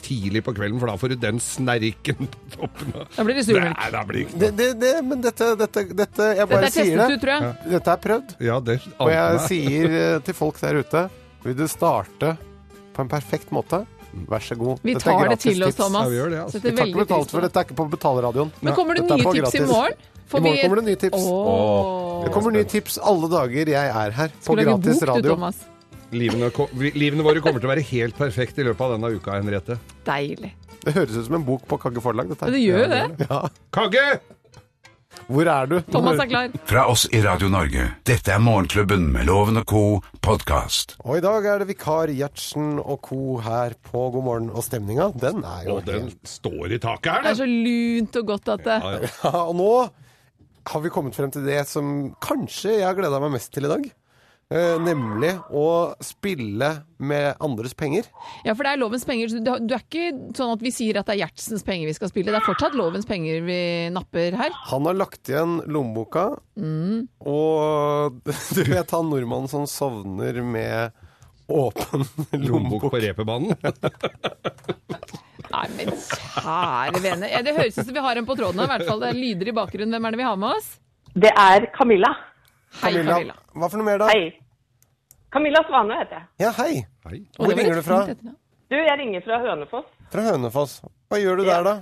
S5: tidlig på kvelden, for da får du den snerken på toppen. av-
S4: Da blir det surmelk.
S5: Nei, da blir det ikke
S3: Det, det, det, men dette, dette, dette Jeg
S4: Dette
S3: bare
S4: er
S3: sier
S4: testet
S3: det.
S4: ut, tror jeg.
S3: Dette er prøvd.
S5: Ja, det
S3: Og jeg
S5: ante meg.
S3: sier eh, til folk der ute Vil du starte på en perfekt måte? Vær så god.
S4: Vi
S3: Dette er
S4: tar det
S3: gratis
S4: til oss,
S3: tips.
S4: Thomas.
S5: Ja, vi gjør det, altså.
S4: Setter
S3: Vi tar ikke
S4: veldig pris
S3: betalt
S4: på
S3: for det.
S4: det.
S3: Dette er ikke på betalradioen.
S4: Men kommer det
S3: Dette er
S4: nye
S3: på
S4: tips i
S3: gratis.
S4: morgen?
S3: I morgen kommer det nye tips. Det
S4: Åh.
S3: kommer nye tips alle dager jeg er her på
S4: Skulle lage
S3: gratis
S4: bok, du,
S3: radio.
S4: Thomas.
S5: Livene, ko- vi- livene våre kommer til å være helt perfekte i løpet av denne uka, Henriette.
S4: Deilig.
S3: Det høres ut som en bok på Kagge forlag. Dette. her.
S4: Men det gjør jo det.
S5: Kagge!
S3: Hvor er du?
S4: Thomas er klar.
S2: Fra oss i Radio Norge. Dette er Morgenklubben med Loven og co. podkast.
S3: Og i dag er det vikar Gjertsen og co. her på God morgen. Og stemninga, den er jo
S5: Og den
S3: helt
S5: står i taket
S4: Det
S5: her,
S4: er
S5: da.
S4: så lunt og godt at det
S3: ja, Og nå har vi kommet frem til det som kanskje jeg har gleda meg mest til i dag. Eh, nemlig å spille med andres penger.
S4: Ja, for det er lovens penger. så Du du er ikke sånn at vi sier at det er Gjertsens penger vi skal spille. Det er fortsatt lovens penger vi napper her.
S3: Han har lagt igjen lommeboka, og du vet han nordmannen som sovner med åpen lommebok.
S5: Lommebok på reperbanen.
S4: Nei, men kjære vene. Ja, Det høres ut som vi har en på tråden. I hvert fall det er lyder i bakgrunnen. Hvem er det vi har med oss?
S9: Det er Camilla.
S4: Hei, Camilla.
S3: Hva for noe mer, da?
S9: Hei. Camilla Svane heter jeg.
S3: Ja, hei.
S5: Nei.
S4: Å, det
S3: Hvor
S4: var
S3: ringer
S4: et
S3: du fra?
S4: fint etternavn.
S9: Du, jeg ringer fra Hønefoss.
S3: Fra Hønefoss. Hva gjør du
S9: Ja.
S3: der, da?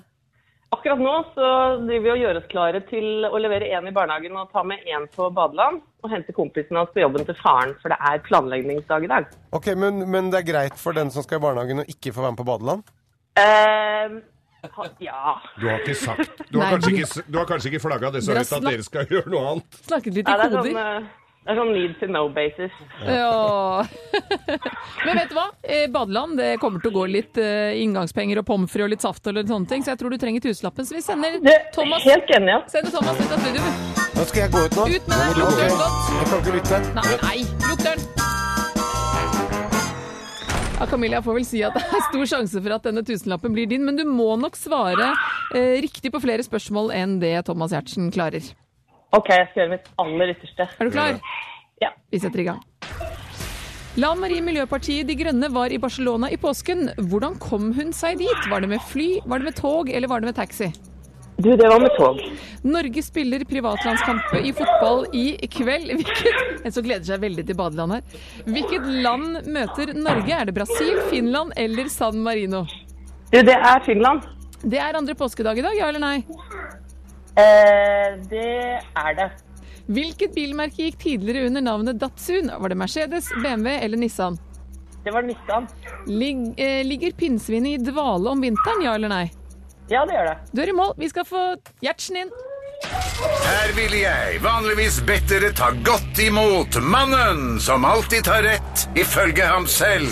S9: Akkurat nå så driver vi og gjør oss klare til å levere én i barnehagen og ta med én på badeland. Og hente kompisen hans på jobben til faren, for det er planleggingsdag i dag.
S3: Ok, men, men det er greit for den som skal i barnehagen og ikke få være med på badeland?
S9: Eh, ha, ja.
S5: Du har ikke sagt Du har
S4: Nei,
S5: kanskje
S4: du-
S5: ikke, s- du har kanskje ikke flagga det så
S4: Dere
S5: høyt at
S4: har
S5: dere skal gjøre noe annet.
S4: Snakket litt i
S9: ja det, er
S4: koder.
S9: sånn, eh, det er sånn need to know basis.
S4: Ja. Men vet du hva? Eh, Badeland det kommer til å gå litt eh, inngangspenger og pommes frites og litt saft og litt sånne ting, så jeg tror du trenger tusenlappen. Så vi sender
S9: Du,
S4: Thomas,
S9: helt enig, ja.
S4: sender Thomas ut av studio.
S3: Nå skal jeg gå ut nå.
S4: Ut med deg.
S3: Nå må du gå.
S4: Lukter den godt?
S3: Jeg kan ikke lytte.
S4: Nei, nei, lukk døren. Ja, Camilla, jeg får vel si at det er stor sjanse for at denne tusenlappen blir din, men du må nok svare eh, riktig på flere spørsmål enn det Thomas Giertsen klarer.
S9: Ok, jeg skal gjøre mitt aller ytterste.
S4: Er du klar?
S9: Ja.
S4: Vi setter i gang. La Marie Miljøpartiet De Grønne var i Barcelona i påsken. Hvordan kom hun seg dit? Var det med fly, var det med tog eller var det med taxi?
S9: Du, det var med tog.
S4: Norge spiller privatlandskamp i fotball i kveld. Hvilket, en som gleder seg veldig til badeland her. Hvilket land møter Norge? Er det Brasil, Finland eller San Marino?
S9: Du, det er Finland.
S4: Det er andre påskedag i dag, ja eller nei?
S9: Eh, det er det.
S4: Hvilket bilmerke gikk tidligere under navnet Datsun? Var det Mercedes, BMW eller Nissan?
S9: Det var Nissan.
S4: Ligg- eh, ligger pinnsvinet i dvale om vinteren, ja eller nei?
S9: Ja, det gjør det.
S4: Du er i mål. Vi skal få Gjertsen inn.
S2: Her ville jeg vanligvis bedt dere ta godt imot mannen som alltid tar rett, ifølge ham selv.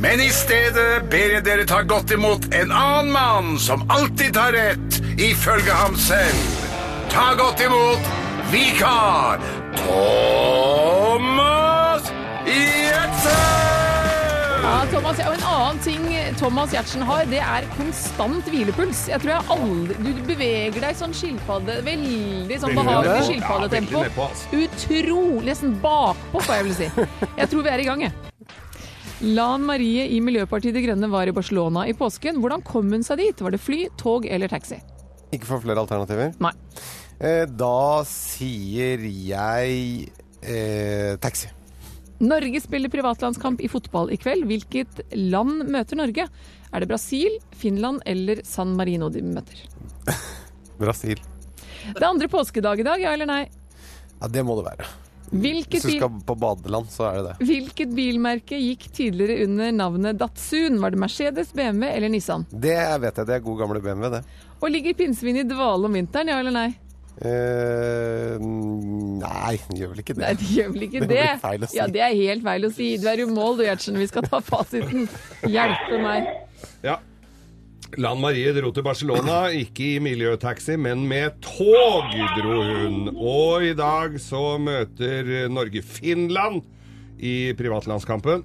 S2: Men i stedet ber jeg dere ta godt imot en annen mann som alltid tar rett, ifølge ham selv. Ta godt imot vikar Thomas Gjertsen!
S4: Ja, Thomas, ja, og en annen ting Thomas Gjertsen har, det er konstant hvilepuls. Jeg tror jeg aldri Du beveger deg i sånn skilpadde Veldig sånn behagelig
S3: nedpå.
S4: skilpaddetempo.
S5: Ja, veldig nedpå, altså.
S4: Utrolig Nesten bakpå, får jeg vel si. Jeg tror vi er i gang, jeg. Lan Marie i Miljøpartiet De Grønne var i Barcelona i påsken. Hvordan kom hun seg dit? Var det fly, tog eller taxi?
S3: Ikke for flere alternativer.
S4: Nei.
S3: Eh, Da sier jeg eh, taxi.
S4: Norge spiller privatlandskamp i fotball i kveld. Hvilket land møter Norge? Er det Brasil, Finland eller San Marino de møter?
S3: Brasil.
S4: Det er andre påskedag i dag, ja eller nei?
S3: Ja, det må det være.
S4: Hvilket,
S3: Hvis du
S4: bil,
S3: skal på badeland, så er det det.
S4: hvilket bilmerke gikk tidligere under navnet Datsun? Var det Mercedes, BMW eller Nissan?
S3: Det vet jeg. Det er god gamle BMW, det.
S4: Og ligger pinnsvinet i dvale om vinteren, ja eller nei?
S3: Eh, nei, den gjør vel ikke det.
S4: Nei, det gjør vel ikke
S3: Det
S4: det.
S3: blir feil å si.
S4: Ja, det er helt feil å si. Du er i mål du, Gjertsen. Vi skal ta fasiten. Hjelpe meg.
S5: Ja. Lan Marie dro til Barcelona, ikke i miljøtaxi, men med tog dro hun. Og i dag så møter Norge Finland i privatlandskampen.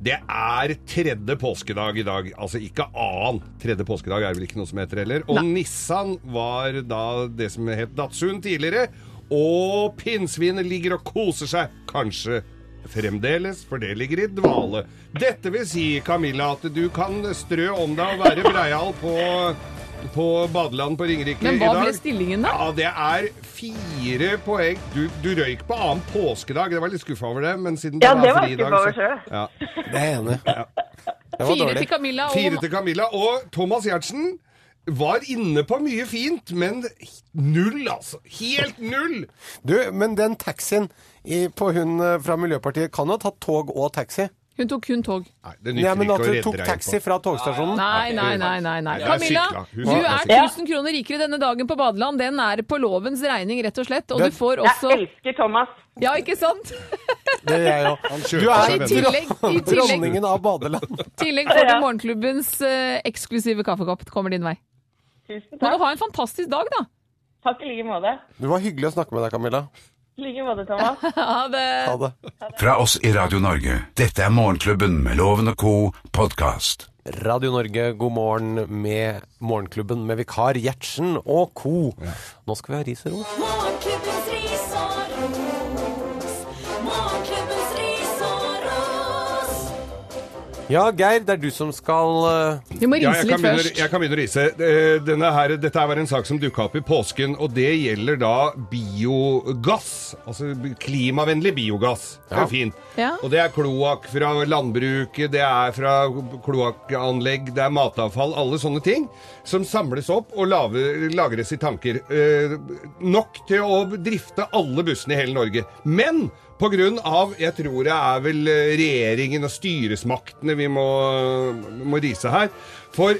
S5: Det er tredje påskedag i dag. Altså ikke annen. Tredje påskedag er vel ikke noe som heter heller. Og Nissan var da det som het Datsun tidligere. Og pinnsvinet ligger og koser seg. Kanskje fremdeles, for det ligger i dvale. Dette vil si, Camilla, at du kan strø om deg og være breial på, på badeland på Ringerike i
S4: Men
S5: dag.
S4: hva ble stillingen da?
S5: Ja, det er fire poeng. Du, du røyk på annen påskedag. Jeg var litt skuffa over det, men siden
S9: Ja, det
S5: er
S9: var
S5: fri i
S9: jeg
S5: dag,
S9: skuffa
S5: så-
S9: over selv.
S5: Ja.
S3: Det er jeg enig i. Det var
S4: Fire
S3: dårlig.
S4: til Camilla
S5: Fire
S4: og
S5: til Camilla. Og Thomas Giertsen var inne på mye fint, men null, altså. Helt null!
S3: Du, men den taxien i, på hun eh, fra Miljøpartiet kan jo ha tatt tog og taxi.
S4: Hun tok kun tog.
S5: Nei, det nytter
S3: Ja, men
S5: ikke
S3: at
S5: å
S3: hun
S5: redde
S3: tok
S5: deg
S3: taxi
S5: på.
S3: fra togstasjonen.
S4: Nei, nei, nei. nei, nei.
S5: Jeg
S4: Camilla,
S5: sykla. Hun
S4: du er
S5: sykla.
S4: 1000 kroner rikere denne dagen på badeland. Den er på lovens regning, rett og slett. Og
S3: Det-
S4: du får
S9: Jeg
S4: også
S9: elsker Thomas.
S4: Ja, ikke sant?
S3: Det gjør jeg òg.
S5: Han
S3: Du
S5: kjøper
S3: er
S5: seg
S4: I
S5: venner.
S4: tillegg, i tillegg
S3: dronningen av badeland.
S4: I tillegg får du morgenklubbens eh, eksklusive kaffekopp. Kommer din vei.
S9: Tusen
S4: Må du
S9: takk.
S4: ha en fantastisk dag, da.
S9: Takk i like måte.
S3: Det var hyggelig å snakke med deg, Camilla.
S9: I like måte, Thomas.
S4: Ha det.
S3: Ha det.
S2: Fra oss i Radio Norge, dette er Morgenklubben med Loven og Co. podkast.
S3: Radio Norge, god morgen med Morgenklubben med vikar Gjertsen og co. Nå skal vi ha ris og ros.
S10: Morgenklubbens ris og ros. Morgenklubbens ris og ros.
S3: Ja, Geir, det er du som skal eh,
S4: Du må
S5: Ja,
S4: rinse
S5: jeg
S4: litt
S5: kan, begynne,
S4: først.
S5: jeg kan begynne å rise. Eh, Denne her, dette her var en sak som dukka opp i påsken, og det gjelder da biogass. Altså klimavennlig biogass. Det er
S3: Ja.
S5: jo fint.
S4: Ja.
S5: Og det er kloakk fra landbruket, det er fra kloakkanlegg, det er matavfall, alle sånne ting som samles opp og laver, lagres i tanker. Eh, nok til å drifte alle bussene i hele Norge. Men på grunn av, jeg tror det er vel eh, regjeringen og styresmaktene vi må, må rise her, for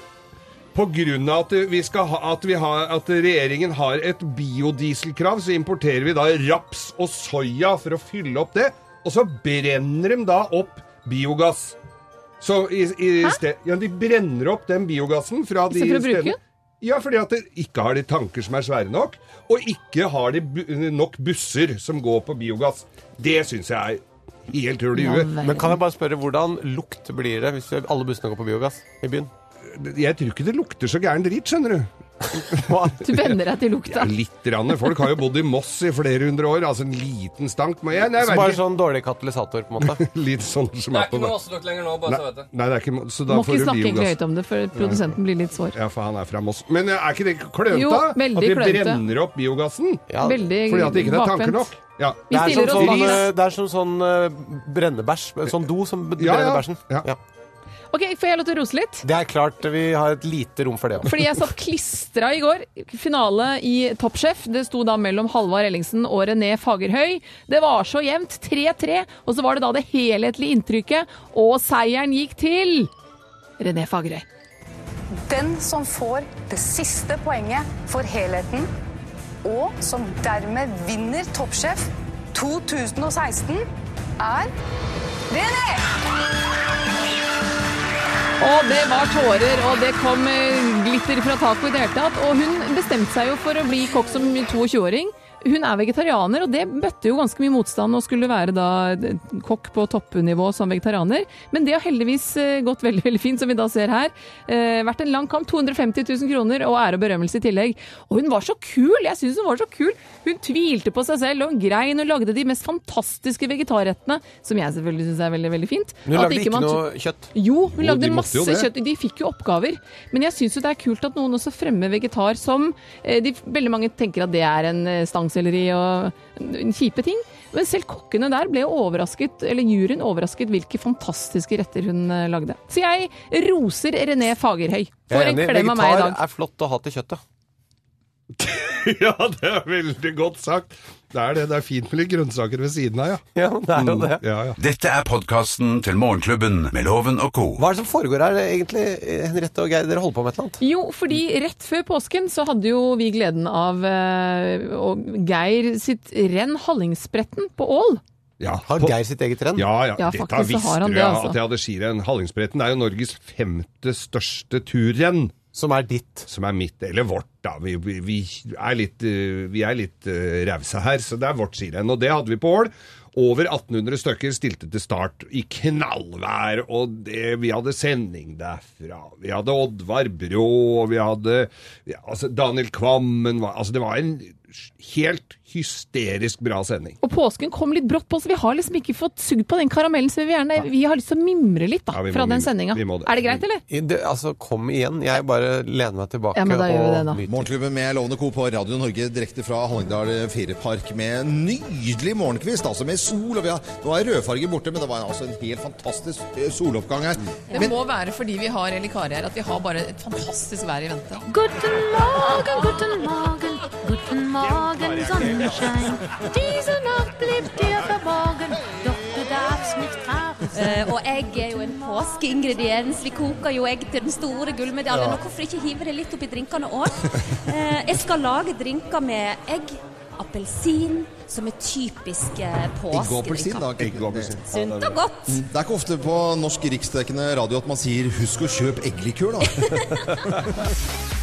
S5: på grunn av at vi, skal ha, at, vi har, at regjeringen har et biodieselkrav, så importerer vi da raps og soya for å fylle opp det. Og så brenner de da opp biogass. Så i, i sted, ja, de brenner opp den biogassen fra de
S4: Istedenfor å bruke
S5: stedene.
S4: den?
S5: Ja, fordi at de ikke har de tanker som er svære nok, og ikke har de bu nok busser som går på biogass. Det syns jeg er Helt hull i huet.
S3: Men kan jeg bare spørre, hvordan lukt blir det hvis alle bussene går på biogass i byen?
S5: Jeg tror ikke det lukter så gæren drit, skjønner du.
S4: Du venner deg til lukta.
S5: Litt. Ranne. Folk har jo bodd i Moss i flere hundre år, altså en liten stank. Men jeg, nei, jeg
S3: Så
S5: vet
S3: bare
S5: ikke.
S3: sånn dårlig katalysator, på en måte.
S5: Litt sånn som
S7: Det
S5: er
S7: er
S5: på
S7: ikke noe Åsseløk lenger nå, bare
S5: Nei,
S7: så vet du.
S5: nei, det er ikke Så da
S4: altså, Må
S5: får
S4: ikke
S5: du
S4: snakke egentlig
S5: biogass.
S4: høyt om det, for produsenten blir litt sår.
S5: Ja, for han er fra Moss. Men eh, er ikke det klønete?
S4: Jo,
S5: da?
S4: veldig
S5: at de
S4: klønete.
S5: brenner opp biogassen?
S3: Ja,
S4: Veldig
S5: Fordi at det ikke er tanker
S4: bakvendt.
S5: nok? Ja.
S4: Vi
S3: Det er som
S4: stiller oss
S3: sånn,
S4: bak.
S3: eh, det er som sånn eh, brennebæsj. Sånn do som b-
S5: Ja,
S3: brenner
S5: ja.
S3: bæsjen.
S5: Ja.
S3: Ja.
S4: Ok, får jeg lov til å rose litt?
S3: Det er klart vi har et lite rom for det òg.
S4: Fordi jeg satt klistra i går. Finale i Topp Chef. Det sto da mellom Halvard Ellingsen og René Fagerhøy. Det var så jevnt. 3-3. Og så var det da det helhetlige inntrykket, og seieren gikk til René Fagerøy.
S11: Den som får det siste poenget for helheten, og som dermed vinner Toppsjef 2016, er René!
S4: Og det var tårer, og det kom eh, glitter fra taket i det hele tatt. Og hun bestemte seg jo for å bli kokk som 22-åring. Hun er vegetarianer, og det bøtte jo ganske mye motstand å skulle være da eh, kokk på toppnivå som vegetarianer. Men det har heldigvis eh, gått veldig veldig fint, som vi da ser her. Eh, vært en lang kamp. 250 000 kroner og ære og berømmelse i tillegg. Og hun var så kul! Jeg syns hun var så kul! Hun tvilte på seg selv, og hun grein og lagde de mest fantastiske vegetarrettene, som jeg selvfølgelig syns er veldig, veldig fint.
S3: Hun
S4: At
S3: lagde
S4: ikke
S3: ikke
S4: man-
S3: noe kjøtt.
S4: jo, hun
S5: Jo, de
S4: lagde
S5: måtte
S4: masse
S5: jo det.
S4: kjøtt. De fikk jo oppgaver. Men jeg syns jo det er kult at noen også fremmer vegetar som eh, de, Veldig mange tenker at det er en eh, stangselleri og en kjipe ting. Men selv kokkene der ble jo overrasket, eller juryen overrasket hvilke fantastiske retter hun eh, lagde. Så jeg roser René Fagerhøy.
S3: Jeg
S4: Får
S3: er
S4: en
S3: enig.
S4: klem av meg i
S3: Vegetar
S4: dag.
S3: er flott å ha til kjøttet.
S5: ja, det er veldig godt sagt. Det er det. Det er fint med litt grønnsaker ved siden av, ja.
S3: Ja, det er jo det.
S5: Ja, ja.
S2: Dette er podkasten til Morgenklubben med Loven og co.
S3: Hva er det som foregår her egentlig, Henriette og Geir? Dere holder på med et eller annet?
S4: Jo, fordi rett før påsken så hadde jo vi gleden av eh, og Geir sitt renn Hallingsbretten på Ål.
S5: ja.
S3: Har
S5: på-
S3: Geir sitt eget renn?
S5: Ja, ja.
S4: Ja,
S5: Dette
S4: faktisk så har
S5: visste
S4: han
S5: du
S4: det,
S5: ja,
S4: altså.
S5: at jeg hadde skirenn. Hallingsbretten er jo Norges femte største turrenn,
S3: Som er ditt.
S5: som er mitt, eller vårt, da. Vi, vi, vi er litt, eh, vi er litt eh, rause her, så det er vårt skirenn. Og det hadde vi på Ål. Over 1800 stykker stilte til start i knallvær, og det, vi hadde sending derfra. Vi hadde Oddvar Brå, og vi hadde ja, altså Daniel Kvammen var, Altså, det var en helt hysterisk bra sending.
S4: Og påsken kom litt brått på oss. Vi har liksom ikke fått sugd på den karamellen. Så vi, vil gjerne, vi har lyst til å mimre litt da,
S5: Ja, vi må
S4: fra den
S5: mimre.
S4: sendinga.
S5: Vi må det.
S4: Er det greit, eller?
S3: I- Det, altså, kom igjen. Jeg bare lener meg tilbake
S4: Ja, men da gjør vi det da.
S3: nyter.
S12: Morgenklubben med Lovende Co. på Radio Norge direkte fra Hallingdal Feriepark med en nydelig morgenkvist, altså med sol. og vi har, Nå er rødfargen borte, men det var altså en helt fantastisk eh, soloppgang her.
S13: Det må være fordi vi har relikarier her, at vi har bare et fantastisk vær i vente.
S10: Guten Morgen, guten Morgen, guten Morgen, Sonnenschein. Diese Nacht bleibt dir verborgen, doch du darfst nicht traurig sein.
S14: Eh, og egg er jo en påskeingrediens. Vi koker jo egg til den store gullmedaljen.
S10: Ja.
S14: Og hvorfor ikke hive det litt oppi drinkene òg? Eh, jeg skal lage drinker med egg, appelsin, som er typiske
S12: Egg og appelsin, da.
S14: påskedrinker.
S12: Egg og appelsin.
S14: Sunt og godt.
S12: Mm, Det er ikke ofte på norsk riksdekkende radio at man sier 'husk å kjøpe eggelikør', da.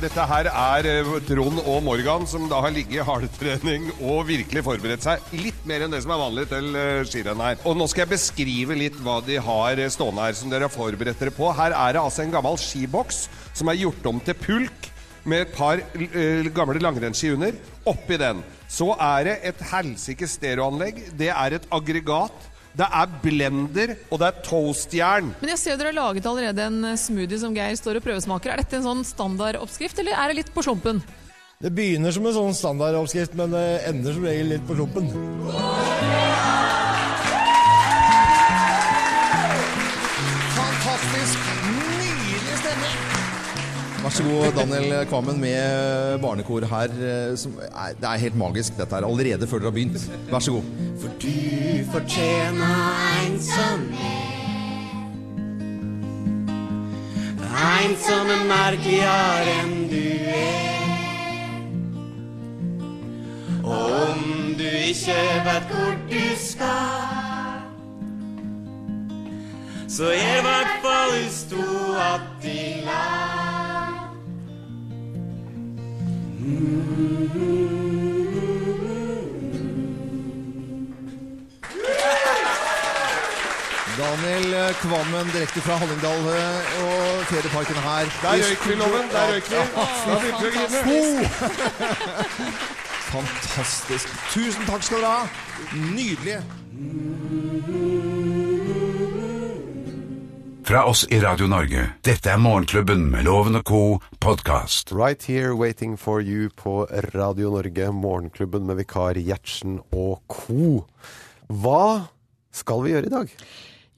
S5: Dette her er eh, Trond og Morgan, som da har ligget i hardtrening og virkelig forberedt seg litt mer enn det som er vanlig til eh, skirenn her. Og nå skal jeg beskrive litt hva de har eh, stående her, som dere har forberedt dere på. Her er det altså en gammel skiboks som er gjort om til pulk med et par eh, gamle langrennsski under. Oppi den. Så er det et helsikes stereoanlegg. Det er et aggregat. Det er blender, og det er toastjern.
S13: Men jeg ser dere har laget allerede en eh, smoothie som Geir står og prøvesmaker. Er dette en sånn standardoppskrift, eller er det litt på slumpen?
S15: Det begynner som en sånn standardoppskrift, men det ender som regel litt på klumpen.
S12: Fantastisk. Nydelig stemning. Vær så god, Daniel Kvammen med barnekor her. eh, Som er, det er helt magisk, dette her. Allerede før dere har begynt. Vær så god. For du fortjener
S10: Ein Sonne, ein Sonne merkeligere enn du er. Og om du ikke vet hvor du skal, så er i hvert fall hus to att i land. Mm.
S12: Daniel eh, Kvammen direkte fra Hallingdal eh, og ferieparken her.
S5: Der røyk vi, Loven. Der røyk vi. Da begynte vi å grine.
S12: Fantastisk. Tusen takk skal dere ha. Nydelig.
S2: Fra oss i Radio Norge, dette er Morgenklubben med Loven og Co. podkast.
S3: Right here waiting for you på Radio Norge, Morgenklubben med vikar Gjertsen og co. Hva skal vi gjøre i dag?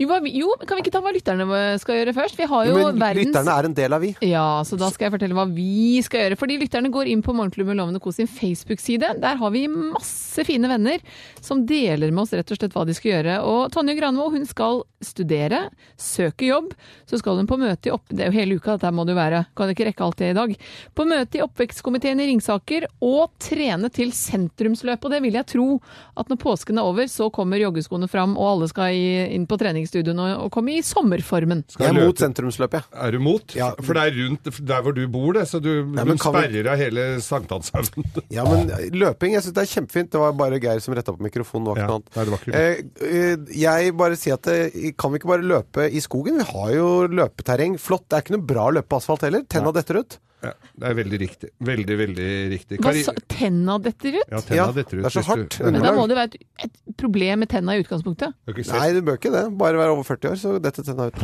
S4: Jo, hva vi- jo, kan vi ikke ta hva lytterne våre skal gjøre først? Vi har jo
S3: Men
S4: verdens
S3: lytterne er en del av vi.
S4: Ja, så da skal jeg fortelle hva vi skal gjøre. Fordi lytterne går inn på Morgenklubben Loven og Co sin Facebook-side. Der har vi masse fine venner som deler med oss rett og slett hva de skal gjøre. Og Tonje Granmo hun skal studere, søke jobb. Så skal hun på møte i opp... Det er jo hele uka, dette må det jo være. Kan ikke rekke alt det i dag. På møte i oppvekstkomiteen i Ringsaker og trene til sentrumsløp. Og det vil jeg tro at når påsken er over, så kommer joggeskoene fram, og alle skal i- inn på treningsstudioene og- og komme i sommerformen.
S3: Jeg er mot sentrumsløpet, jeg.
S5: Er du mot? For det er rundt der hvor du bor, det, så du,
S3: Nei, men
S5: de
S3: kan vi-
S5: sperrer av hele sankthanshaugen.
S3: Ja, men eh, løping, jeg syns det er kjempefint. Det var bare Geir som retta på mikrofonen. Det var ikke noe annet. Eh, eh, jeg bare sier at det, kan vi ikke bare løpe i skogen? Vi har jo løpeterreng. Flott. Det er ikke noe bra å løpe på asfalt heller. Tenna detter ut.
S5: Ja, det er veldig riktig. Veldig, veldig riktig.
S4: Hva
S5: Kari-
S4: sa Tenna detter ut?
S5: Ja, tenna detter ut.
S3: det er så
S5: hvis du-
S3: hardt
S5: Ja.
S4: Men da må det være et, et problem med tenna i utgangspunktet.
S5: Har du ikke sett-
S3: Nei, du bør ikke det. Bare være over 40 år, så detter tenna ut.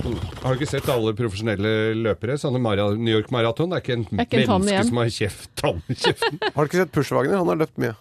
S5: Har du ikke sett alle profesjonelle løpere? Sånne mara New York Marathon. Det er ikke en
S4: er ikke en tann
S5: menneske
S4: igjen.
S5: som har kjeft, tann i kjeften.
S3: Har du ikke sett Pushwagner? Han har løpt mye.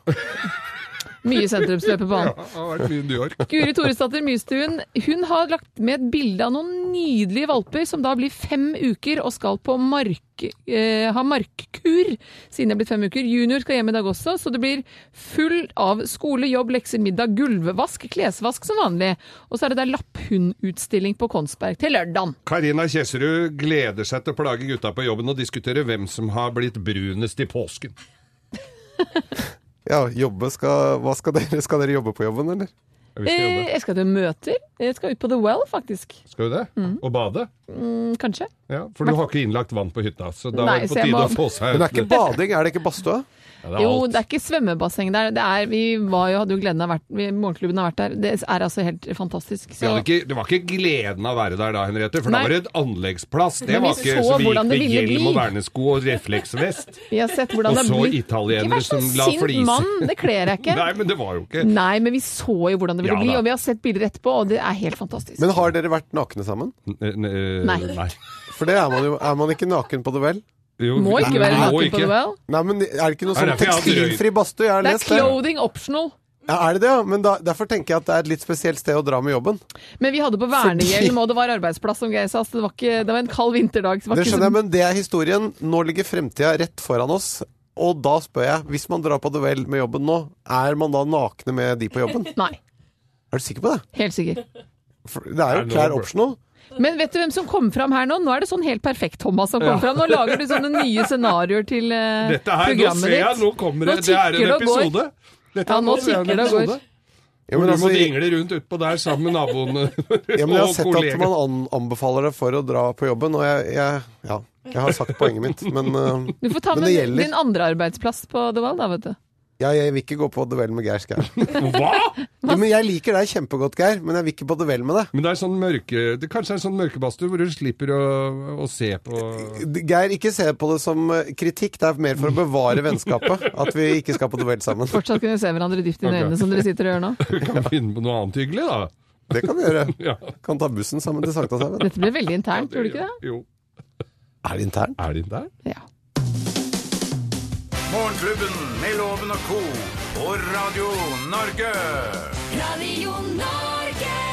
S4: Mye sentrumsløper på
S5: Ja,
S4: han.
S5: det har vært mye New York.
S4: Guri Toresdatter Mystuen hun har lagt med et bilde av noen nydelige valper som da blir fem uker og skal på mark, eh, ha markkur siden det er blitt fem uker. Junior skal hjem i dag også, så det blir full av skole, jobb, lekser, middag, gulvvask, klesvask som vanlig. Og så er det der lapphundutstilling på Konsberg til lørdagen.
S5: Karina Kjeserud gleder seg til å plage gutta på jobben og diskutere hvem som har blitt brunest i påsken.
S3: Ja, jobbe skal Hva skal dere? Skal dere jobbe på jobben, eller?
S4: Eh, jeg skal til møter. Jeg skal ut på The Well, faktisk.
S5: Skal du det? Og bade?
S4: Mm, kanskje.
S5: Ja, for du har ikke innlagt vann på hytta, så da
S4: Nei,
S5: er det
S4: så
S5: på
S4: jeg må-
S5: tide å få seg
S3: Men det er ikke bading, er det ikke badstue?
S5: Ja, det er
S4: jo,
S5: alt.
S4: det er ikke svømmebasseng der. Det er, vi var jo, hadde jo gleden av å vært, vi- Morgenklubben har vært der. Det er altså helt fantastisk.
S5: Vi hadde ikke, det var ikke gleden av å være der da, Henriette, for
S4: Nei.
S5: da var det et anleggsplass. Det
S4: Men vi
S5: var ikke
S4: så
S5: så vi
S4: hvordan det
S5: gikk med
S4: ville
S5: hjelm
S4: bli.
S5: og vernesko og refleksvest.
S4: vi har sett hvordan
S5: Og
S4: det
S5: så
S4: blir. Ikke
S5: italienere
S4: vær
S5: som
S4: sånn
S5: la
S4: sint
S5: flise.
S4: mann, det kler jeg ikke.
S5: Nei, men det var jo ikke
S4: Nei, men vi så jo hvordan det ville
S5: Ja,
S4: bli,
S5: da.
S4: og vi har sett bilder etterpå, og det er helt fantastisk.
S3: Men har dere vært nakne sammen?
S4: Nei.
S5: eh, nei.
S3: For det er man jo. Er man ikke naken på duell?
S4: Må ikke være naken på duell.
S3: Nei, men er det ikke noe
S5: Nei,
S3: sånn
S5: derfor jeg har
S3: tekstilfri badstue? Jeg har
S4: Det er
S3: lest det.
S4: clothing optional.
S3: Ja, er det det, ja? Men da, derfor tenker jeg at det er et litt spesielt sted å dra med jobben.
S4: Men vi hadde på vernehjelm, og det var arbeidsplass, som Geir sa. Så det var, ikke, det var en kald vinterdag. Så det var
S3: Det
S4: ikke
S3: skjønner jeg,
S4: sånn-
S3: men det er historien. Nå ligger fremtida rett foran oss. Og da spør jeg, hvis man drar på duell med jobben nå, er man da nakne med de på jobben?
S4: Nei.
S3: Er du sikker på det?
S4: Helt sikker.
S3: For det er jo klær optional.
S4: Men vet du hvem som kom fram her nå? Nå er det sånn helt perfekt, Thomas, som kom
S5: Ja.
S4: fram. Nå lager du sånne nye scenarioer til eh,
S5: Dette her, nå
S4: programmet
S5: ser jeg,
S4: ditt.
S5: nå kommer det,
S4: Nå
S5: det er en
S4: tikker det og går.
S5: episode. Dette
S4: Ja,
S5: er-
S4: nå
S5: er en
S4: tikker det og går.
S5: episode.
S3: Ja, men
S5: Hvor du
S3: altså,
S5: må
S3: jeg,
S5: dingle rundt utpå der sammen med naboen
S3: ja, men jeg har
S5: og
S3: sett at man
S5: kollegaen.
S3: an- anbefaler det for å dra på jobben, og jeg, jeg Ja, jeg har sagt poenget mitt, men, eh,
S4: Du får ta
S3: men
S4: med
S3: det
S4: din
S3: gjelder.
S4: andre arbeidsplass på The Wall, da, vet du.
S3: Ja, jeg vil ikke gå på duell med Geir Skau.
S5: Hva?!
S3: Jo, men jeg liker deg kjempegodt, Geir, men jeg vil ikke på duell med deg.
S5: Men det er sånn mørke, det kanskje er en sånn mørkebadstue hvor du slipper å, å se på
S3: Geir, ikke se på det som eh, kritikk, det er mer for å bevare vennskapet at vi ikke skal på duell sammen.
S4: Fortsatt kunne se hverandre dypt inn
S3: Ok.
S4: i øynene, som dere sitter og gjør nå.
S5: Du kan finne på noe annet hyggelig, da.
S3: Det kan vi gjøre.
S5: Ja.
S3: Kan ta bussen sammen til Sankthanshaugen.
S4: Dette ble veldig internt, tror du ikke det?
S5: Jo.
S3: Er det internt?
S5: Er det internt?
S2: Morgenklubben med Loven og Co. på Radio Norge.
S10: Radio Norge!